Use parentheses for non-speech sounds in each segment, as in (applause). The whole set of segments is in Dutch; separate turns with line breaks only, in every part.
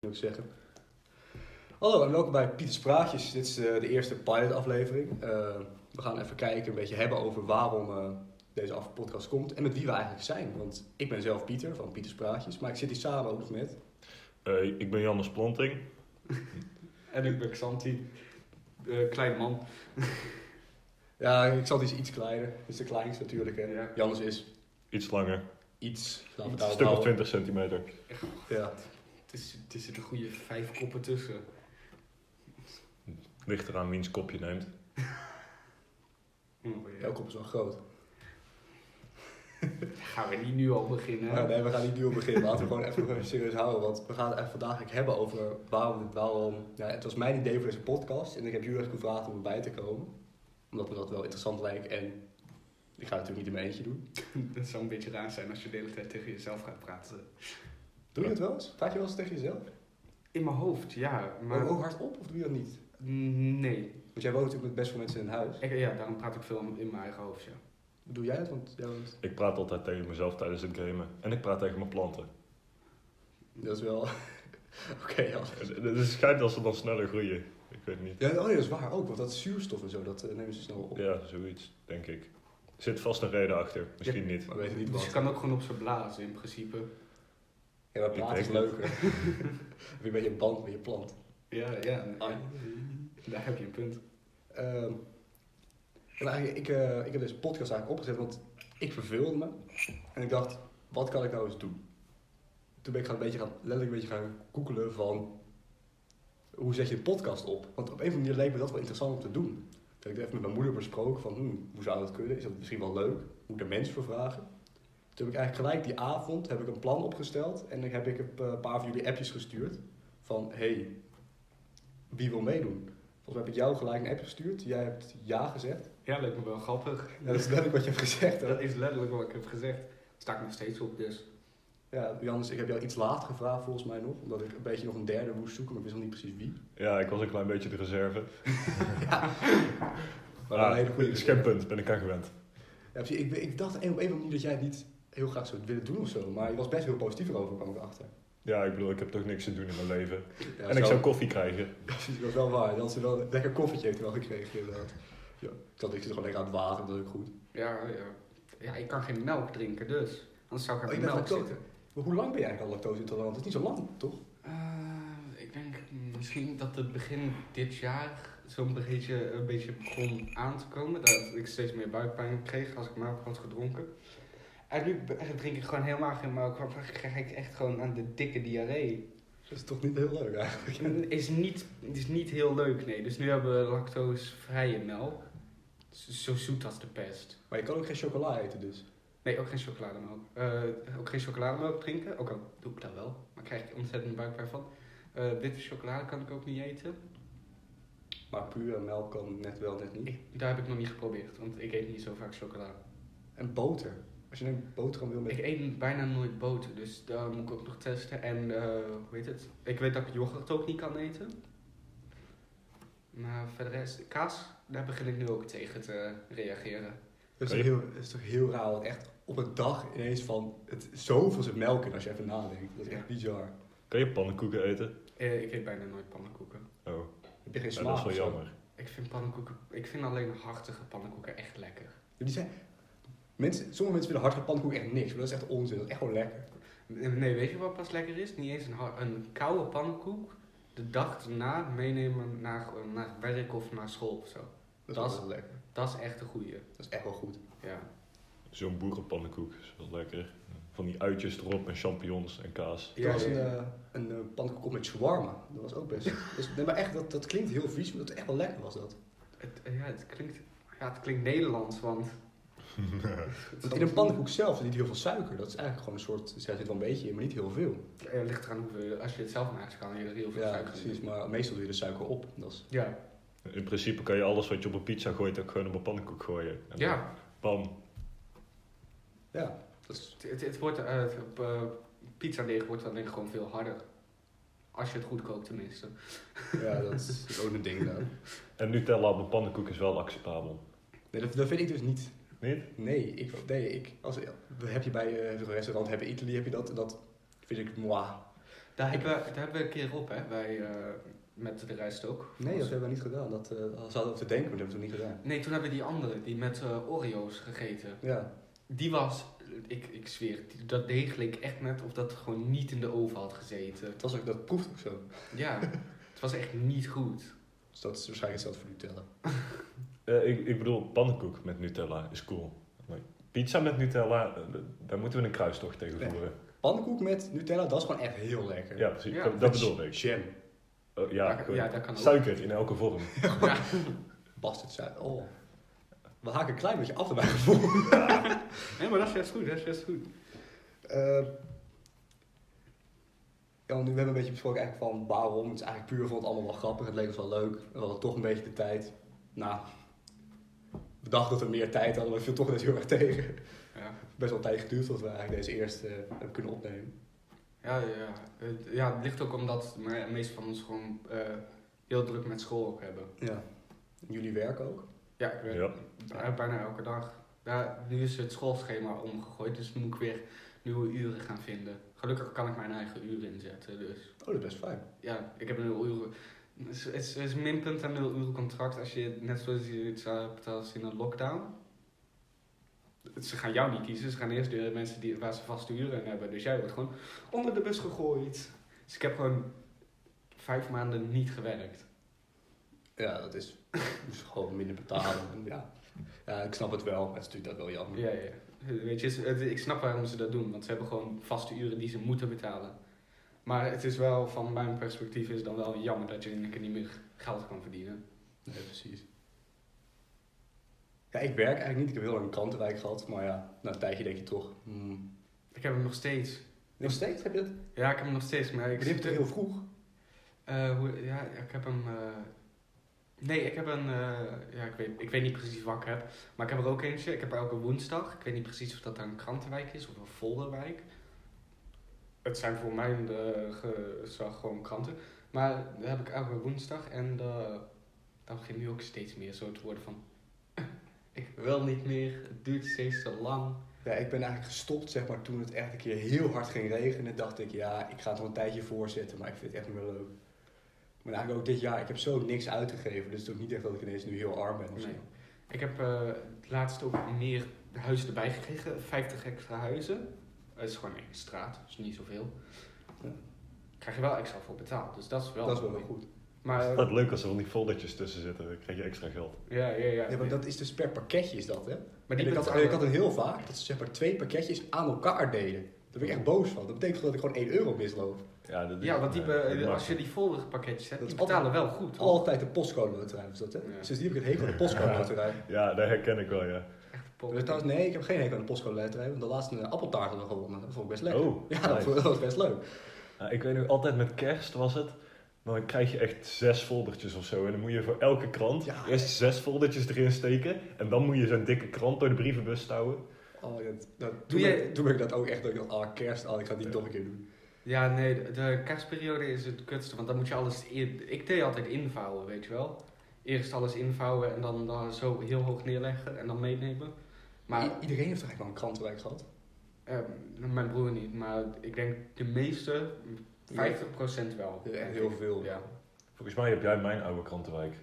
moet ik zeggen. Hallo en welkom bij Pieters Praatjes. Dit is eh, de eerste pilot-aflevering. Eh, we gaan even kijken, een beetje hebben over waarom eh, deze af- podcast komt en met wie we eigenlijk zijn. Want ik ben zelf Pieter van Pieters Praatjes, maar ik zit hier samen ook met.
Eh, ik ben Jannes Planting.
En ik ben Xanti, eh, klein man.
(laughs) Ja, ik zat iets, iets kleiner. Dat is de kleinste natuurlijk. Hè.
Ja.
Jannes is
Iets langer.
iets. laten we
Iets
daarop
Een stuk of
houden.
20 centimeter.
Ja.
Het is, het is er een goede vijf koppen tussen.
Ligt eraan wiens kop je neemt.
Hm.
Jouw kop is wel groot.
Gaan we niet nu al beginnen?
Nou, nee, we gaan niet nu op beginnen. Laten we gewoon even serieus houden. Want we gaan het eigenlijk vandaag eigenlijk hebben over waarom dit waarom. Ja, het was mijn idee voor deze podcast. En ik heb jullie eigenlijk gevraagd om erbij te komen. Omdat me dat wel interessant lijkt. En ik ga het natuurlijk niet in mijn eentje doen.
(laughs) Dat zou een beetje raar zijn als je de hele tijd tegen jezelf gaat praten.
Doe je dat wel eens? Vraag je wel eens tegen jezelf?
In mijn hoofd, ja. Maar
Maar ook hardop of doe je dat niet?
nee.
Want jij woont natuurlijk met best veel mensen in huis.
Ik, ja, daarom praat ik veel in mijn eigen hoofd, ja.
Doe jij het? Want jij woont-
Ik praat altijd tegen mezelf tijdens het gamen. En ik praat tegen mijn planten.
Dat is wel. (laughs) Oké, Jan.
Eh, Het het schijnt dat ze dan sneller groeien. Ik weet niet.
Ja, oh ja, dat is waar ook. Want dat zuurstof en zo, dat eh, nemen ze snel op.
Ja, zoiets, denk ik. Er zit vast een reden achter. Misschien niet.
Maar we weten niet
Dus je
wat.
kan ook gewoon op ze blazen, in principe.
Ja, maar
Ik
praten is
denk het.
leuker. (laughs) Heb je een beetje een band met je plant.
Ja, ja.
Ah, ja.
Daar heb je een punt.
Ehm, en eigenlijk, ik, eh, ik heb deze podcast eigenlijk opgezet, want ik verveelde me. En ik dacht, wat kan ik nou eens doen? Toen ben ik gaan een beetje gaan, letterlijk een beetje gaan googelen van... Hoe zet je een podcast op? Want op een of andere manier leek me dat wel interessant om te doen. Toen heb ik het even met mijn moeder besproken van, hmm, hoe zou dat kunnen? Is dat misschien wel leuk? Moet ik er mensen voor vragen? Toen heb ik eigenlijk gelijk die avond heb ik een plan opgesteld. En dan heb ik een pa- paar van jullie appjes gestuurd. Van, hey, wie wil meedoen? Volgens mij heb ik jou gelijk een app gestuurd. Jij hebt ja gezegd.
Ja, leek me wel grappig.
Ja, dat is letterlijk wat je hebt gezegd.
(laughs) Dat
Hè?
is letterlijk wat ik heb gezegd. Sta ik nog steeds op, dus.
Ja, Jannes, ik heb jou iets laat gevraagd volgens mij nog. Omdat ik een beetje nog een derde moest zoeken, maar ik wist nog niet precies wie.
Ja, ik was een klein beetje de reserve.
Maar wel
Ah,
een hele goede
is geen punt, ben ik aan gewend.
Ja, precies. Ik, ik dacht op een of andere manier dat jij het niet heel graag zou willen doen of zo. Maar je was best heel positief erover, kwam ik achter.
Ja, ik bedoel, ik heb toch niks te doen in mijn leven.
Ja,
en ik
(laughs)
zou koffie krijgen.
Precies, dat is wel waar. Dat ze wel een lekker koffietje heeft hij wel gekregen inderdaad. Ja, ik dacht, ik zit gewoon lekker aan het water, dat is ook goed.
Ja, ja. Ja, ik kan geen melk drinken, dus. Anders zou ik aan
Oh, je
de
bent
melk
lactose-
zitten.
Maar hoe lang ben jij eigenlijk al lactose intolerant? Dat is niet zo lang, toch?
Eh, ik denk misschien dat het begin dit jaar zo'n beetje, een beetje begon aan te komen. Dat ik steeds meer buikpijn kreeg als ik melk had gedronken. En nu be- drink ik gewoon helemaal geen melk. Dan krijg ik echt gewoon aan de dikke diarree.
Dat is toch niet heel leuk eigenlijk.
Is niet, is niet heel leuk, nee. Dus nu hebben we lactosevrije melk. Zo zo zoet als de pest.
Maar je kan ook geen chocola eten dus.
Nee, ook geen chocolademelk. Eh, ook geen chocolademelk drinken. Ook al doe ik dat wel. Maar krijg ik ontzettend buikpijn van. Eh, witte chocolade kan ik ook niet eten.
Maar pure melk kan net wel, net niet.
Ik, daar heb ik nog niet geprobeerd, want ik eet niet zo vaak chocolade.
En boter. Als je een boterham wil met...
Ik eet bijna nooit boter, dus daar moet ik ook nog testen. En eh, hoe heet het? Ik weet dat ik yoghurt ook niet kan eten. Maar verder is kaas, daar begin ik nu ook tegen te reageren.
Dat is,
Kan
toch
je-
heel, dat is toch heel raar, want echt op een dag ineens van... Het, zoveel zit melk in als je even nadenkt. Dat is echt bizar.
Kan je pannenkoeken eten?
Eh, ik eet bijna nooit pannenkoeken.
Oh,
Heb je geen
ja,
smaak?
dat is wel
of zo?
jammer.
Ik vind pannenkoeken, ik vind alleen hartige pannenkoeken echt lekker.
Ja, die zijn... Mensen, sommige mensen vinden hartige pannenkoek echt niks, maar dat is echt onzin. Dat is echt gewoon lekker.
Eh, Nee, weet je wat pas lekker is? Niet eens een, har- een koude pannenkoek. De dag erna meenemen naar, naar werk of naar school of zo.
Dat is
Dat
wel
is-
heel lekker.
Dat is echt een goeie.
Dat is echt wel goed.
Ja.
Zo'n boerenpannenkoek is wel lekker. Van die uitjes erop en champignons en kaas.
Er was een, eh, een eh, pannenkoek op met shawarma. Dat was ook best... dat is- nee, maar echt, dat, dat klinkt heel vies, maar dat is echt wel lekker was dat.
Het, eh, ja, het klinkt, ja, het klinkt Nederlands, want...
(laughs) Want in een pannenkoek zelf zit niet heel veel suiker. Dat is eigenlijk gewoon een soort... Er zit wel een beetje in, maar niet heel veel.
Eh, ligt eraan hoeveel... Als je het zelf maakt, kan je er heel veel
Ja,
suiker in
precies.
doen.
Maar meestal doe je de suiker op. Dat is...
Ja,
In principe kan je alles wat je op een pizza gooit ook gewoon op een pannenkoek gooien. En dan
ja.
Bam.
Ja, dat is...
Het, het, het wordt... eh, het, eh, pizza deeg wordt alleen gewoon veel harder. Als je het goed kookt tenminste.
Ja, dat is ook een ding daar.
En Nutella op een pannenkoek is wel acceptabel.
Nee, dat, dat vind ik dus niet.
Niet?
Nee, ik, nee, ik als, heb je bij eh, een restaurant, hebben Italië, heb je dat, en dat vind ik moi.
Daar hebben, we- daar hebben we een keer op, hè, bij, eh, met de rijst ook.
Nee, dat hebben we niet gedaan. Dat eh zouden we te denken, maar dat hebben we toen niet gedaan.
Nee, toen hebben we die andere, die met eh, Oreo's gegeten.
Ja,
Die was, ik, ik zweer, die- dat deeg leek echt net of dat gewoon niet in de oven had gezeten.
het was ook, dat proeft ook zo.
Ja, het was echt niet goed. (laughs)
Dus dat is waarschijnlijk hetzelfde voor Nutella.
Eh, ik, ik bedoel, pannenkoek met Nutella is cool. Maar pizza met Nutella, eh, daar moeten we een kruistocht tegen
Nee.
voeren.
Pannenkoek met Nutella, dat is gewoon echt heel lekker.
Ja, precies.
Ja.
Dat-
Met
dat bedoel ik.
Jam,
Oh, ja,
Ja,
gewoon
ja, dat kan ook.
Suiker in elke vorm.
(laughs)
Ja,
bastard zijn. Oh. We haken een klein beetje af van mijn gevoel.
nee, maar dat is juist goed, dat is juist goed.
Eh, ja, want nu hebben we een beetje besproken eigenlijk van waarom. Het is eigenlijk puur voor het allemaal wel grappig. Het leek ons wel leuk. We hadden toch een beetje de tijd. Nou, we dachten dat we meer tijd hadden, maar het viel toch net heel erg tegen.
Ja,
Best wel tijd geduurd dat we eigenlijk deze eerste eh, hebben kunnen opnemen.
ja, ja, ja. Het, ja, het ligt ook omdat de meesten van ons gewoon eh, heel druk met school ook hebben.
Ja. Jullie werken ook.
Ja, ik werk
Ja.
bijna elke dag. Ja, nu is het schoolschema omgegooid, dus nu moet ik weer nieuwe uren gaan vinden. Gelukkig kan ik mijn eigen uren inzetten, dus
Oh, dat is best fijn.
ja, ik heb een nul uren. Het is, het is- het is minpunt en nul uren contract als je net zoals je iets hebt als in een lockdown. Ze gaan jou niet kiezen, ze gaan eerst de mensen die, waar ze vaste uren in hebben. Dus jij wordt gewoon onder de bus gegooid. Dus ik heb gewoon vijf maanden niet gewerkt.
Ja, dat is, dus gewoon minder betalen. ja. ja, ik snap het wel. maar Het is natuurlijk dat wel jammer.
Ja, ja. Weet je, het- ik snap waarom ze dat doen, want ze hebben gewoon vaste uren die ze moeten betalen. Maar het is wel, van mijn perspectief, is het dan wel jammer dat je in één keer niet meer geld kan verdienen.
Nee, precies. Ja, ik werk eigenlijk niet. Ik heb heel lang een krantenwijk gehad. Maar ja, na een tijdje denk je toch... hmm.
Ik heb hem nog steeds.
Nog steeds heb je dat?
Ja, ik heb hem nog steeds, maar ik
Ik heb het heel vroeg.
Eh, hoe, ja, ik heb hem. eh, nee, ik heb een. eh, ja, ik weet, ik weet niet precies wat ik heb. Maar ik heb er ook eentje. Ik heb elke woensdag. Ik weet niet precies of dat dan een krantenwijk is of een folderwijk. Het zijn voor mijn eh, gezag gewoon kranten. Maar daar heb ik elke woensdag. En eh dat begint nu ook steeds meer zo te worden van. (laughs) ik wil niet meer. Het duurt steeds te lang.
Ja, ik ben eigenlijk gestopt, zeg maar, toen het echt een keer heel hard ging regenen. dacht ik, ja, ik ga het nog een tijdje voorzetten, maar ik vind het echt niet meer leuk. Maar eigenlijk ook dit jaar, ik heb zo niks uitgegeven. Dus het is ook niet echt dat ik ineens nu heel arm ben of zo.
Nee. Ik heb eh, het laatst ook meer huizen erbij gekregen. 50 extra huizen. Dat is gewoon één straat, dus niet zoveel.
Ja.
Krijg je wel extra voor betaald, dus dat is wel
dat is wel
mooi.
weer goed.
Maar, eh,
Wat leuk als er van die foldertjes tussen zitten, dan krijg je extra geld.
ja, ja, ja.
Ja, maar dat is dus per pakketje is dat, hè?
Maar
En
die
ik, had,
betalen-
ik had het heel vaak dat ze zeg maar twee pakketjes aan elkaar deden. Daar ben ik echt boos van. Dat betekent gewoon dat ik gewoon 1 euro misloop.
Ja, dat is-
Ja, want die, be-
eh, dat
als
mag.
je die volgende pakketjes hebt,
Dat
die
is altijd-
betalen wel goed. hoor.
Altijd de postcode-loterij was dat, hè?
Ja.
Sindsdien heb ik het hekel aan de postcode-loterij.
Ja, dat herken ik wel, ja.
Echt
Dus
pop.
trouwens, nee, ik heb geen hekel aan de postcode-loterij, want de laatste eh, appeltaart hadden we gewonnen. Dat vond ik best lekker.
Oh,
(laughs) ja, dat,
nice.
vond- dat was best leuk.
Ja, Nou, ik weet nog altijd met kerst was het. Dan krijg je echt zes foldertjes of zo. En dan moet je voor elke krant
Ja.
eerst zes foldertjes erin steken. En dan moet je zo'n dikke krant door de brievenbus touwen.
Oh, ja, dat, dat,
Doe
toen,
jij-
ben, ik- toen ben ik dat ook echt, dat ik dacht, ah, kerst, ah, ik ga het niet
Ja.
nog een keer doen.
Ja, nee, de- de kerstperiode is het kutste, want dan moet je alles... in- Ik deed altijd invouwen, weet je wel. Eerst alles invouwen en dan, dan zo heel hoog neerleggen en dan meenemen. Maar
Maar iedereen heeft toch eigenlijk wel een krantenwijk gehad?
Ehm, mijn broer niet, maar ik denk de meeste, 50% wel.
Ja, echt heel veel.
Ja.
Volgens mij heb jij mijn oude krantenwijk.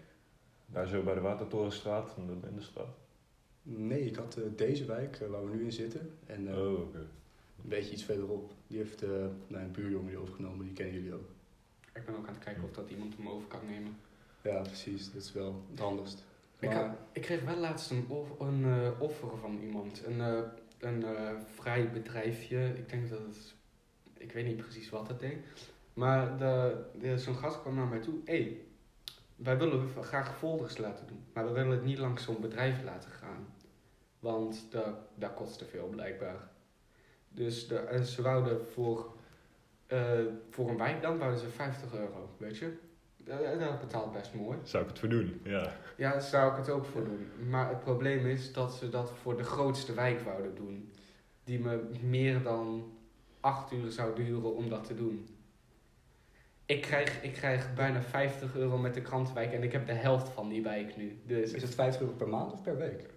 Daar zo bij de Watertorenstraat, in de- in de straat.
Nee, ik had eh, deze wijk, eh, waar we nu in zitten, en eh,
Oh, oké.
een beetje iets verderop. Die heeft eh, nou, een buurjongen die overgenomen, die kennen jullie ook.
Ik ben ook aan het kijken of dat iemand hem over kan nemen.
Ja, precies. Dat is wel het handigst.
Ik,
Maar-
had- ik kreeg wel laatst een, of- een eh, offer van iemand. Een, eh, een eh, vrij bedrijfje. Ik denk dat het... Ik weet niet precies wat het deed. Maar de, de- zo'n gast kwam naar mij toe. Hé, hey, wij willen graag folders laten doen. Maar we willen het niet langs zo'n bedrijf laten gaan. Want dat, dat kost te veel blijkbaar. Dus de, en ze wouden voor, eh, voor een wijk dan, wouden ze 50 euro, weet je. Dat, dat betaalt best mooi.
Zou ik het voor doen? Ja.
Ja, daar zou ik het ook voor doen. Maar het probleem is dat ze dat voor de grootste wijk wouden doen. Die me meer dan acht uur zou duren om dat te doen. Ik krijg, ik krijg bijna 50 euro met de krantwijk en ik heb de helft van die wijk nu. Dus
Is het 50 euro per maand of per week?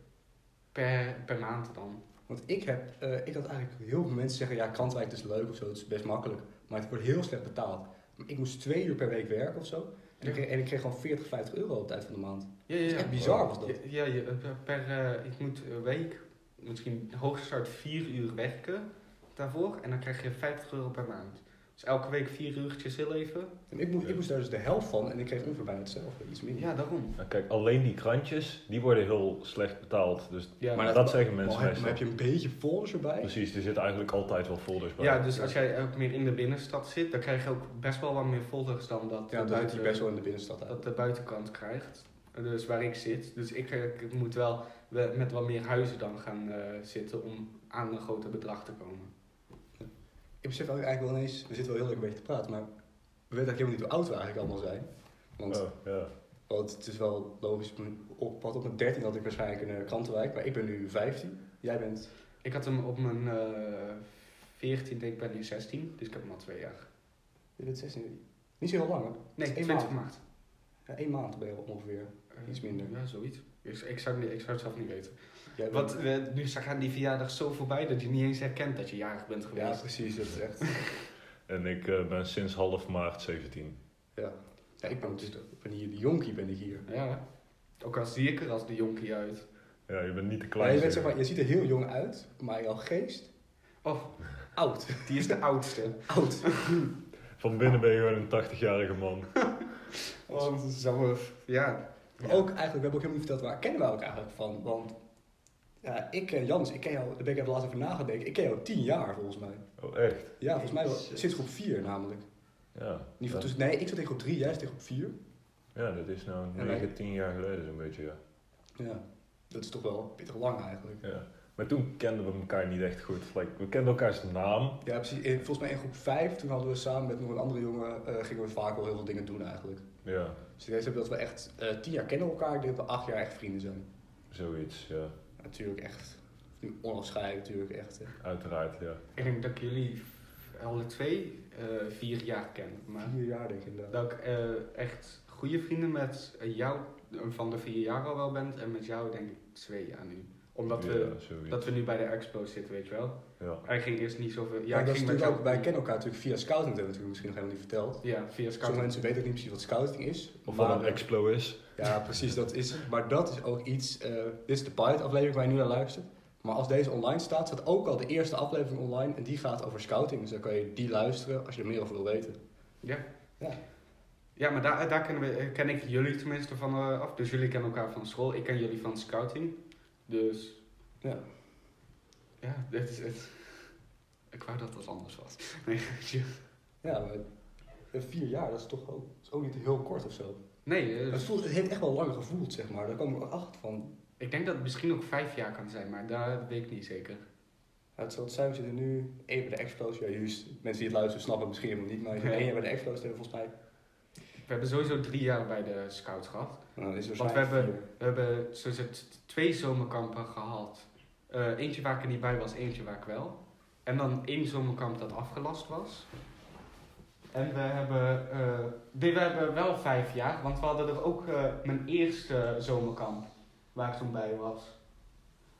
Per, per maand dan.
Want ik, heb, eh, ik had eigenlijk heel veel mensen zeggen, ja, Krantwijk is leuk of zo, het is best makkelijk. Maar het wordt heel slecht betaald. Maar Ik moest twee uur per week werken of zo. En ik kreeg, en ik kreeg gewoon 40, 50 euro op het eind van de maand.
Ja, ja,
Dat
ja.
is echt bizar was dat.
Ja, ja, je- eh, per, eh, ik moet een week, misschien hooguit vier uur werken daarvoor. En dan krijg je 50 euro per maand. Dus elke week vier uurtjes heel even.
En ik, moest, ik moest daar dus de helft van en ik kreeg ongeveer bijna hetzelfde, iets minder.
Ja, daarom.
Nou, kijk, alleen die krantjes, die worden heel slecht betaald. Dus
Ja,
Maar
maar
dat-
dat zeggen
Maar
mensen
heb, maar
meestal.
heb je een beetje folders erbij?
Precies, er zitten eigenlijk altijd wel folders bij.
ja, dus als jij ook meer in de binnenstad zit, dan krijg je ook best wel wat meer volgers dan
Ja, dat
dat, de
eh, doet
buiten-
hij best wel in de binnenstad uit.
dat de buitenkant krijgt. Dus waar ik zit. Dus ik, eh, ik moet wel we- met wat meer huizen dan gaan eh, zitten om aan een groter bedrag te komen.
Ik besef eigenlijk wel ineens, we zitten wel heel leuk een beetje te praten, maar we weten eigenlijk helemaal niet hoe oud we eigenlijk allemaal zijn. Want,
Oh, ja.
want het is wel logisch, m- op, wat op mijn 13 had ik waarschijnlijk een eh, krantenwijk, maar ik ben nu 15. Jij bent,
Ik had hem op mijn eh 14, denk ik ben nu 16, dus ik heb hem al twee jaar.
je bent 16. Niet zo heel lang, hè?
Nee,
Eén
20
maand.
maart.
Ja, één maand ben je ongeveer.
Eh,
Iets minder.
Ja, zoiets. Dus ik zou, het niet- ik zou het zelf niet weten.
Jij bent-
Want eh, nu gaan die verjaardag zo voorbij dat je niet eens herkent dat je jarig bent
Ja,
geweest.
precies, dat is echt.
En ik eh, ben sinds half maart 17.
ja. ja, ik ben dus ik ben hier de jonkie, ben ik hier.
Ja. Ook al zie ik er als de jonkie uit.
Ja, je bent niet
Maar
de
je,
kleinste.
bent, zeg maar, je ziet er heel jong uit, maar jouw geest,
Of,
oud.
die is de
(laughs)
oudste.
Oud.
Van binnen ben je gewoon een 80-jarige man. Oh,
Want, zo, eh, ja.
Maar ook eigenlijk, we hebben ook helemaal niet verteld waar kennen we elkaar eigenlijk van. Want ja, ik ken Jans, ik ken jou, daar ben ik even laatst over nagedacht. Ik ken jou tien jaar volgens mij.
Oh, echt?
Ja, volgens mij wel.
Jezus.
Sinds groep vier namelijk.
Ja.
In ieder geval
ja.
tussen- nee, ik zat tegen groep drie, jij zat tegen groep vier.
Ja, dat is nou
wij-
9, 10 jaar geleden zo'n beetje, ja.
Ja, dat is toch wel pittig lang eigenlijk.
ja. Maar toen kenden we elkaar niet echt goed. Like, we kenden elkaars naam.
Ja, precies. In- Volgens mij in groep vijf, toen hadden we samen met nog een andere jongen, eh, gingen we vaak wel heel veel dingen doen eigenlijk.
Ja,
Dus ik denk dat we echt eh, tien jaar kennen elkaar, ik denk dat we acht jaar echt vrienden zijn.
zoiets, ja.
Natuurlijk echt, nu onafscheidelijk natuurlijk echt. hè.
Uiteraard, ja.
Ik denk dat ik jullie alle twee eh, vier jaar ken. Maar
Vier jaar denk ik inderdaad.
dat ik eh, echt goede vrienden met eh, jou eh, van de vier jaar al wel bent. En met jou denk ik twee jaar nu. Omdat we,
Ja, zoiets.
dat we nu bij de expo zitten, weet je wel.
Ja.
Hij ging eerst niet zoveel...
Ja,
ik
dat is
ging
natuurlijk
met
ook, wij kennen elkaar natuurlijk via scouting, dat hebben we natuurlijk misschien nog helemaal niet verteld.
Ja, via Skype.
Sommige mensen weten ook niet precies wat scouting is.
Of
maar-
wat een explo is.
Ja, precies, dat is Maar dat is ook iets, eh, dit is de pilot aflevering waar je nu naar luistert. Maar als deze online staat, staat ook al de eerste aflevering online en die gaat over scouting. Dus dan kan je die luisteren als je er meer over wil weten.
Ja, maar daar, daar kennen we, eh, ken ik jullie tenminste van eh, af. Dus jullie kennen elkaar van school. Ik ken jullie van scouting. Dus
Ja.
ja, dit is het. Ik wou dat dat anders was. (laughs) Nee, je-
Ja, maar eh, vier jaar, dat is toch ook, dat is ook niet heel kort of zo.
nee eh,
Het, voelt, het heeft echt wel lang gevoeld, zeg maar. Daar kwam ik ook achter van.
ik denk dat het misschien ook vijf jaar kan zijn, maar daar weet ik niet zeker.
Ja, het zal het zijn, we zitten nu één bij de Explosie. Ja, juist, mensen die het luisteren snappen het misschien helemaal niet, maar
Ja.
één jaar bij de Explosie hebben we volgens mij.
We hebben sowieso drie jaar bij de scouts gehad.
Nou, dan is er
Want we
waarschijnlijk
hebben-
vier.
We hebben sowieso t- twee zomerkampen gehad. Eh, eentje waar ik er niet bij was, eentje waar ik wel. En dan één zomerkamp dat afgelast was. En we hebben, eh, nee, we hebben wel vijf jaar, want we hadden er ook eh, mijn eerste zomerkamp waar ik toen bij was.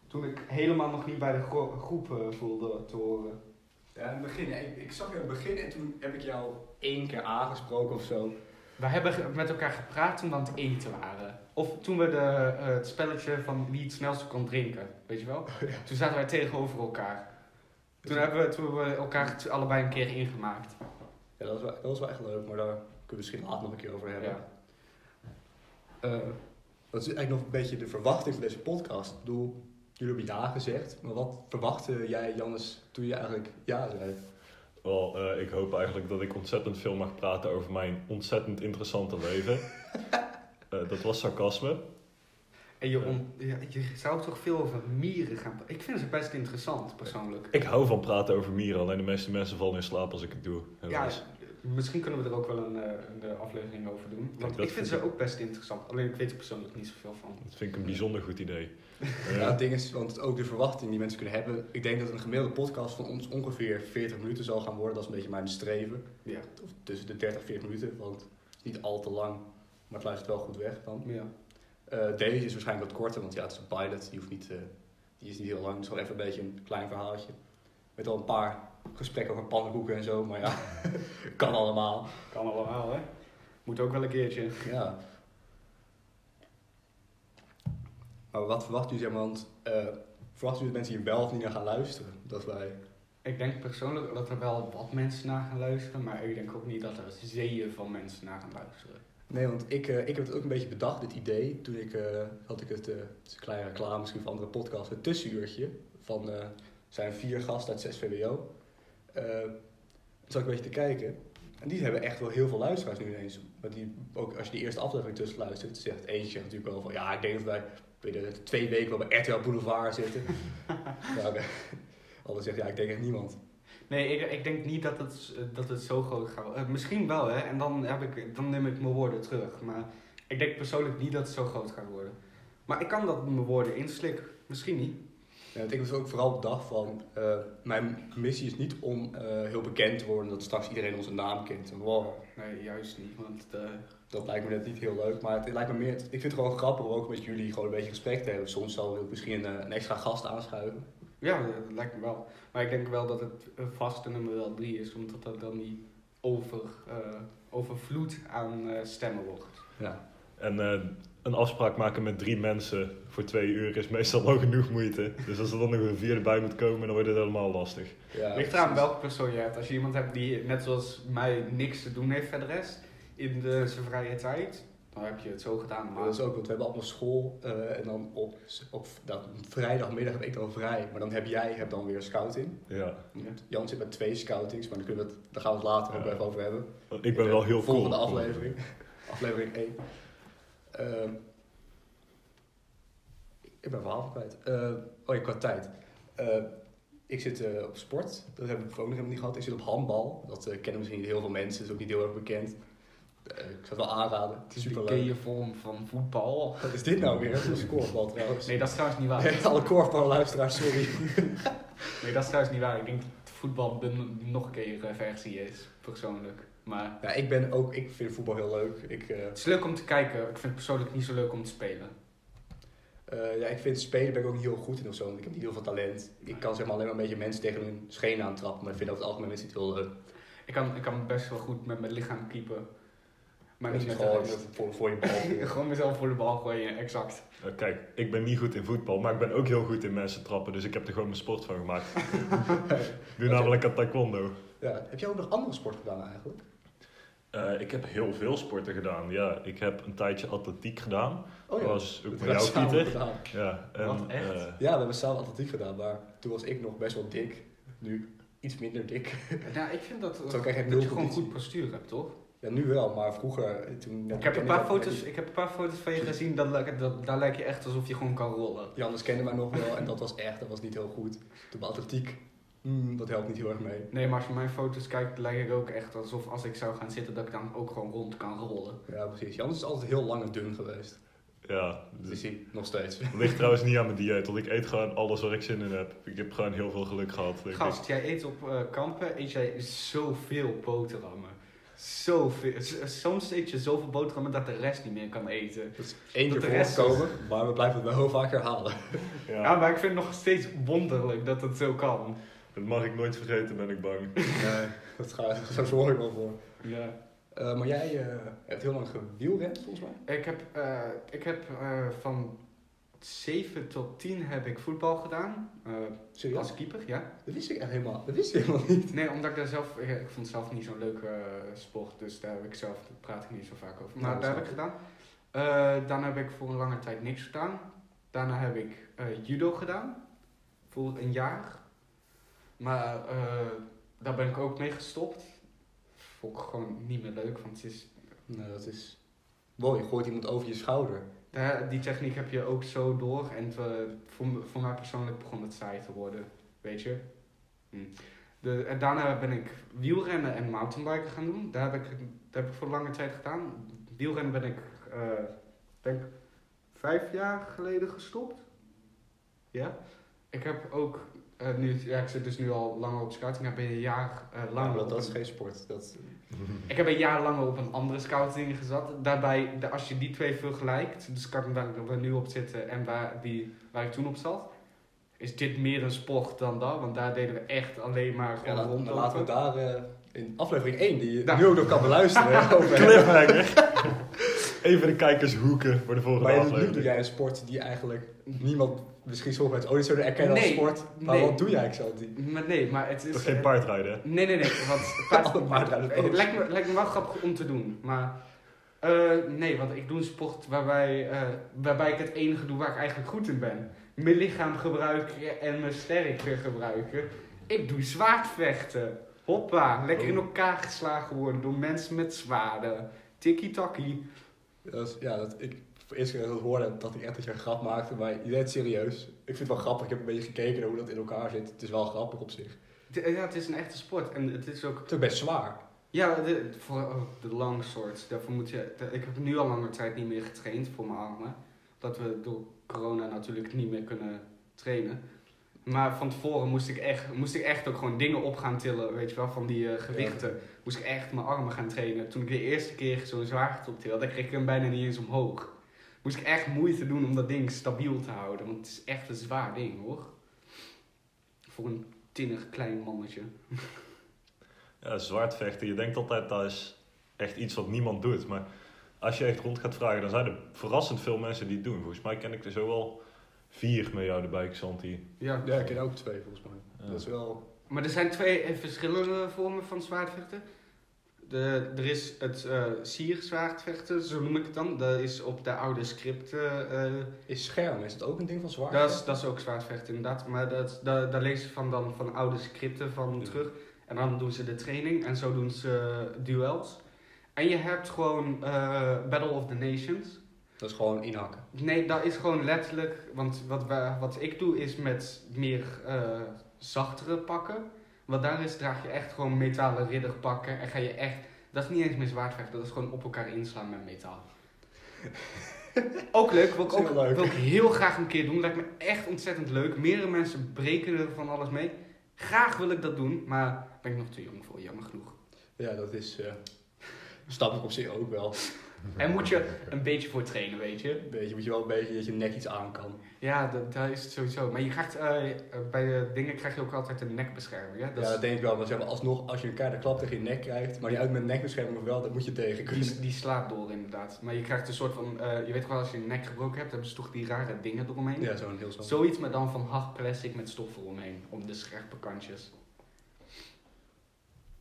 Toen ik helemaal nog niet bij de gro- groep eh, voelde te horen.
Ja, in het begin. ja, Ik, ik zag je in het begin en toen heb ik jou één keer aangesproken of zo.
We hebben ge- met elkaar gepraat toen we aan het eten waren. Of toen we de, eh, het spelletje van wie het snelste kon drinken, weet je wel? Toen zaten wij tegenover elkaar. Toen hebben we, toen hebben we elkaar het allebei een keer ingemaakt.
Ja, dat was, wel, dat was wel echt leuk, maar daar kunnen we misschien later nog een keer over hebben.
Ja.
Eh, dat is eigenlijk nog een beetje de verwachting van deze podcast. Ik bedoel, jullie hebben ja gezegd, maar wat verwachtte jij, Jannes, toen je eigenlijk ja zei?
Wel, eh, ik hoop eigenlijk dat ik ontzettend veel mag praten over mijn ontzettend interessante
(laughs)
leven. Eh, dat was sarcasme.
En je, on- ja, je zou toch veel over mieren gaan pra- Ik vind ze best interessant, persoonlijk.
Ik hou van praten over mieren, alleen de meeste mensen vallen in slaap als ik het doe.
Ja,
helaas.
misschien kunnen we er ook wel een, eh, een aflevering over doen.
dat
Want ik vind
vind
ze
ik-
ook best interessant. Alleen ik weet er persoonlijk niet zoveel van.
Dat vind ik een bijzonder goed
(laughs)
idee.
Ja.
Eh,
Nou, het ding is, want ook de verwachting die mensen kunnen hebben. Ik denk dat een gemiddelde podcast van ons ongeveer 40 minuten zal gaan worden. Dat is een beetje mijn streven.
Ja.
Of tussen de 30 en 40 minuten, want het is niet al te lang. Maar het luistert wel goed weg dan.
ja.
Eh, deze is waarschijnlijk wat korter, want ja, het is een pilot. Die hoeft niet eh, Die is niet heel lang, het is gewoon even een beetje een klein verhaaltje. Met al een paar gesprekken over pannenkoeken en zo, maar ja, (laughs) kan allemaal.
Kan allemaal, hè? Moet ook wel een keertje.
Ja. Maar wat verwacht u, zeg maar, want eh, verwacht u dat mensen hier wel of niet naar gaan luisteren? Dat wij...
Ik denk persoonlijk dat er wel wat mensen naar gaan luisteren, maar ik denk ook niet dat er zeeën van mensen naar gaan luisteren.
Nee, want ik, eh, ik heb het ook een beetje bedacht, dit idee. Toen ik, eh, had ik het, eh, het is een kleine reclame misschien van andere podcast, het tussenuurtje. Van, eh, zijn vier gasten uit 6 VWO. Eh, toen zat ik een beetje te kijken. En die hebben echt wel heel veel luisteraars nu ineens. Want die, ook als je die eerste aflevering tussen luistert, zegt eentje natuurlijk wel van... Ja, ik denk dat wij binnen twee weken wel bij RTL Boulevard zitten. ja, oké. Anders zegt, ja, ik denk echt niemand.
Nee, ik, ik denk niet dat het, eh, dat het zo groot gaat worden. Eh, misschien wel, hè? En dan, heb ik, dan neem ik mijn woorden terug. Maar ik denk persoonlijk niet dat het zo groot gaat worden. Maar ik kan dat mijn woorden inslikken. Misschien niet.
Ja, want ik was ook vooral bedacht van, eh, mijn missie is niet om eh, heel bekend te worden, dat straks iedereen onze naam kent. En wow,
Nee, juist niet. Want eh,
dat lijkt me net niet heel leuk, maar het lijkt me meer, ik vind het gewoon grappig om ook met jullie gewoon een beetje gesprek te hebben. Soms zal ik misschien eh, een extra gast aanschuiven.
ja, dat lijkt me wel. Maar ik denk wel dat het eh, vaste nummer wel drie is, omdat dat dan niet over, eh, overvloed aan eh, stemmen wordt.
Ja.
En eh, een afspraak maken met drie mensen voor twee uur is meestal al (laughs) genoeg moeite. Dus als er dan nog een vierde bij moet komen, dan wordt het helemaal lastig.
Ja,
Ligt eraan welke persoon je hebt. Als je iemand hebt die, net zoals mij, niks te doen heeft verder rest in de, zijn vrije tijd, dan heb je het zo gedaan.
Maar
Maar
dat is ook, want we hebben allemaal school eh, en dan op, op dat, vrijdagmiddag heb ik dan vrij, maar dan heb jij heb dan weer scouting.
Ja.
Ja.
Jan zit met twee scoutings, maar dan kunnen we het, daar gaan we het later ook
Ja.
even over hebben.
Ik ben wel heel
Eh, Volgende
cool.
aflevering. aflevering 1. Ehm, ik ben mijn verhaal kwijt. Eh, oh ja, qua tijd. Eh, ik zit eh, op sport. Dat heb ik ook nog helemaal niet gehad. Ik zit op handbal. Dat eh, kennen misschien niet heel veel mensen. Dat is ook niet heel erg bekend. Eh, ik zou het wel aanraden. Het is
Super
superleuk.
je vorm van voetbal.
Wat is dit nou weer? Dat is korfbal trouwens.
Nee, dat is trouwens niet waar.
Nee, (laughs) alle korfballuisteraars, sorry.
Nee, dat is trouwens niet waar. Ik denk dat voetbal de nog een keer eh, versie is, persoonlijk. Maar
Ja, ik, ben ook, ik vind voetbal heel leuk. Ik, eh,
het is leuk om te kijken. Ik vind het persoonlijk niet zo leuk om te spelen.
Eh, ja, ik vind spelen ben ik ook niet heel goed in of zo, want ik heb niet heel veel talent. Ik kan zeg maar alleen maar een beetje mensen tegen hun scheen aantrappen, maar ik vind over het algemeen mensen niet heel eh, leuk.
Ik kan, ik kan best wel goed met mijn lichaam keepen. Maar
Dat
niet
is
met de
gewoon
rest. (laughs)
voor, voor je bal.
Gewoon mezelf voor de bal gooien, exact.
Eh, Kijk, ik ben niet goed in voetbal, maar ik ben ook heel goed in mensen trappen. Dus ik heb er gewoon mijn sport van
(laughs)
gemaakt. Ik doe namelijk aan taekwondo.
ja. Heb jij ook nog andere sport gedaan eigenlijk?
Eh, ik heb heel veel sporten gedaan. Ja, ik heb een tijdje atletiek gedaan.
Oh
Dat was ook
Dat hebben
met
we
jou,
samen
Pieter.
gedaan.
Ja,
Wat, echt?
eh,
Ja, we hebben samen atletiek gedaan, maar toen was ik nog best wel dik. Nu iets minder dik. (laughs)
Nou, ik vind dat,
Zo krijg je
dat
nul
je gewoon
conditie.
goed postuur hebt, toch?
Ja, nu wel, maar vroeger eh, toen...
Ik heb, een paar foto's, ik heb een paar foto's van je gezien, dat, lijkt- dat, daar lijkt je echt alsof je gewoon kan rollen.
Jannes kende mij nog wel en dat was echt, dat was niet heel goed. Toen bij atletiek, hmm, dat helpt niet heel erg mee.
Nee, maar als je mijn foto's kijkt, lijkt het ook echt alsof als ik zou gaan zitten, dat ik dan ook gewoon rond kan rollen.
Ja, precies. Jannes is altijd heel lang en dun geweest.
ja,
Dat
dus
is hij nog steeds.
ligt trouwens niet aan mijn dieet, want ik eet gewoon alles waar ik zin in heb. Ik heb gewoon heel veel geluk gehad. denk ik.
Gast, jij eet op eh, kampen, eet jij zoveel boterhammen. Zoveel. S- Soms eet je zoveel boterhammen dat de rest niet meer kan eten.
(laughs) Dat is één
Dat
keer
de rest
voorgekomen, maar we blijven het wel heel vaak
(laughs)
herhalen.
Ja,
Ja. maar ik vind het nog steeds wonderlijk dat het zo kan.
Dat mag ik nooit vergeten, ben ik bang.
Nee, dat gaat, daar zorg ik wel voor.
Ja.
Eh, maar jij eh, hebt heel lang gewielrend, volgens mij.
Ik heb, eh, ik heb eh, van 7 tot 10 heb ik voetbal gedaan. eh,
Serieus?
als keeper, ja.
Dat wist ik echt helemaal, dat wist ik helemaal niet.
Nee, omdat ik daar zelf, ik ik vond het zelf niet zo'n leuke eh, sport, dus daar heb ik zelf, daar praat ik niet zo vaak over. Maar
Ja, dat
daar heb
snap
ik gedaan. Eh, daarna heb ik voor een lange tijd niks gedaan. Daarna heb ik eh, judo gedaan, voor een jaar. Maar eh, daar ben ik ook mee gestopt. Vond ik gewoon niet meer leuk, want het is,
Nou, dat is... Wow, je gooit iemand over je schouder.
daar, die techniek heb je ook zo door. En het, eh, voor, me- voor mij persoonlijk begon het saai te worden, weet je. Hm. De, en daarna ben ik wielrennen en mountainbiken gaan doen. Daar heb ik, dat heb ik voor lange tijd gedaan. Wielrennen ben ik, eh, denk ik, vijf jaar geleden gestopt. Ja. Ik heb ook, eh, nu, ja, ik zit dus nu al langer op scouting. Ik heb een jaar eh,
Ja,
langer
maar dat,
op
dat is
een-
geen sport. Dat,
ik heb een jaar lang op een andere scouting gezat. Daarbij, de- als je dus die twee vergelijkt, de scouting waar we nu op zitten en waar, die, waar ik toen op zat, is dit meer een sport dan dat. Want daar deden we echt alleen maar
Ja,
gewoon
laat-
rondlopen.
laten we daar eh, in aflevering 1, die je
Nou.
nu ook nog kan
(laughs)
beluisteren. over hebben.
Cliffhanger. Even de kijkers hoeken voor de volgende
Maar ja, nu
aflevering.
doe jij een sport die eigenlijk niemand, misschien sommige mensen ooit zouden erkennen als
Nee,
sport. Maar
nee.
wat doe jij eigenlijk zo? Die...
Maar nee, maar het is...
Dat is geen
eh,
paardrijden, hè?
Nee, nee, nee. Want
Alle paardrijden
Eh,
dood.
het lijkt me, lijkt me wel grappig om te doen. Maar eh, nee, want ik doe een sport waarbij, eh, waarbij ik het enige doe waar ik eigenlijk goed in ben. Mijn lichaam gebruiken en mijn sterkte gebruiken. Ik doe zwaardvechten. Hoppa, lekker in elkaar geslagen worden door mensen met zwaarden. Tikkie-takkie.
Dat is- ja, dat ik voor eerst keer dat hoorde, dacht ik echt dat je een grap maakte. Maar je deed het serieus. Ik vind het wel grappig. Ik heb een beetje gekeken naar hoe dat in elkaar zit. Het is wel grappig op zich.
Het- eh, Ja, het is een echte sport en het is ook
Het is ook best zwaar.
Ja, de, voor oh, de langsword. Daarvoor moet je. de- ik heb nu al lange tijd niet meer getraind voor mijn armen. Omdat we door corona natuurlijk niet meer kunnen trainen. Maar van tevoren moest ik echt, moest ik echt ook gewoon dingen op gaan tillen, weet je wel, van die eh, gewichten. Moest ik echt mijn armen gaan trainen. Toen ik de eerste keer zo'n zwaard optilde, kreeg ik hem bijna niet eens omhoog. Moest ik echt moeite doen om dat ding stabiel te houden. Want het is echt een zwaar ding hoor. Voor een tinnig klein mannetje.
Ja, zwaardvechten. Je denkt altijd dat is echt iets wat niemand doet. Maar als je echt rond gaat vragen, dan zijn er verrassend veel mensen die het doen. Volgens mij ken ik er zo wel vier met jou erbij, Xanti.
Ja,
Ja, ik ken ook twee volgens mij.
Ja.
Dat is wel...
Maar er zijn twee eh, verschillende vormen van zwaardvechten. De, er is het eh sierzwaardvechten, zo noem ik het dan. Dat is op de oude scripten. eh,
Is scherm, is dat ook een ding van zwaar?
dat, is, dat is ook zwaardvechten inderdaad. Maar dat, daar, daar lezen ze van, dan, van oude scripten van
Ja.
terug. En dan doen ze de training en zo doen ze eh, duels. En je hebt gewoon eh, Battle of the Nations.
Dat is gewoon inhakken.
Nee, dat is gewoon letterlijk. Want wat, wa- wat ik doe is met meer eh, zachtere pakken. Want daar is draag je echt gewoon metalen ridderpakken. En ga je echt. Dat is niet eens meer zwaardvechten, dat is gewoon op elkaar inslaan met metaal. ook leuk, wil ik,
Dat is
ook,
heel leuk.
wil ik heel graag een keer doen. Lijkt me echt ontzettend leuk. Meerdere mensen breken er van alles mee. Graag wil ik dat doen, maar ben ik nog te jong voor, jammer genoeg.
Ja, dat is... (laughs) eh snap ik op zich ook wel.
En moet je een beetje voor trainen, weet je.
Een beetje, moet je wel een beetje dat je nek iets aan kan.
Ja, dat, dat is het sowieso. Maar je krijgt, eh, eh, bij de dingen krijg je ook altijd een nekbescherming. Hè? Dat
ja,
is-
dat denk ik wel. Maar zeg maar, alsnog, als je een keiharde klap tegen je nek krijgt, maar die uit met nekbescherming of wel, dan moet je tegen kunnen.
die, die slaat door inderdaad. Maar je krijgt een soort van, eh, je weet gewoon als je een nek gebroken hebt, hebben ze toch die rare dingen eromheen.
Ja, zo'n heel zo.
Zoiets, maar dan van hard plastic met stof eromheen, om de scherpe kantjes.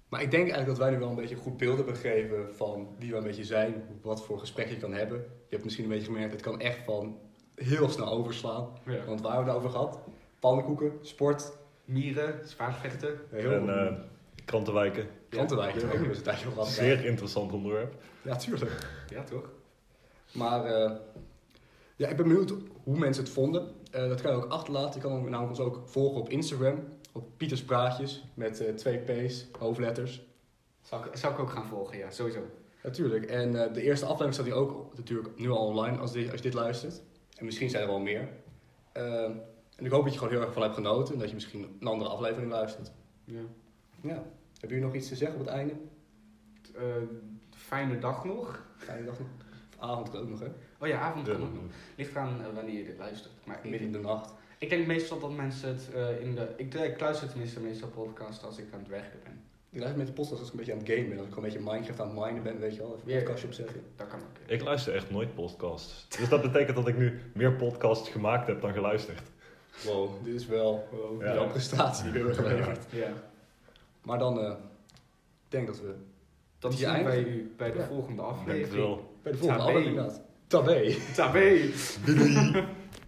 Maar ik denk eigenlijk dat wij nu wel een beetje een goed beeld hebben gegeven van wie we een beetje zijn, wat voor gesprek je kan hebben. Je hebt misschien een beetje gemerkt, het kan echt van heel snel overslaan.
Ja.
Want waar hebben we het nou over gehad? Pannenkoeken, sport,
Mieren, zwaardvechten.
heel
en eh, krantenwijken.
krantenwijk. Ja, ook nog eens een tijdje over gehad.
Zeer interessant onderwerp.
Ja, tuurlijk.
Ja, toch?
Maar eh, ja, ik ben benieuwd hoe mensen het vonden. Eh, dat kan je ook achterlaten. Je kan namelijk ons ook volgen op Instagram. Op Pieters Praatjes met eh, twee P's, hoofdletters.
Zal ik, zal ik ook gaan volgen, ja, sowieso.
Natuurlijk. En eh, de eerste aflevering staat hier ook natuurlijk nu al online als, dit, als je dit luistert. En misschien zijn er wel meer. Eh, en ik hoop dat je gewoon heel erg van hebt genoten. En dat je misschien een andere aflevering luistert.
Ja.
Ja. Hebben jullie nog iets te zeggen op het einde?
T- eh, fijne dag nog.
Fijne dag nog. Avond ook nog, hè?
Oh ja, avond.
Ja,
kan ook. Ligt eraan eh, wanneer je dit luistert. Maar ik-
Midden in de nacht.
Ik denk meestal dat mensen het eh, in de. Ik, ik luister tenminste meestal podcasts als ik aan het werken ben.
Ik luister met de podcast als ik een beetje aan het gamen ben. Als ik gewoon een beetje Minecraft aan het minen ben, weet je wel. Even een
Ja.
podcastje opzetten.
Dat kan ook.
Ik luister echt nooit podcasts. Dus dat betekent dat ik nu meer podcasts gemaakt heb dan geluisterd.
Wow, dit is wel
Ja.
een prestatie die we hebben geleverd.
Ja.
Maar dan eh, ik denk dat we
Dan
Die
zien we bij
eigen-
u bij de
Ja.
volgende
Ik denk het
aflevering.
wel.
bij de volgende
Tabé.
aflevering inderdaad. Tabé.
Tabé!
Doei doei.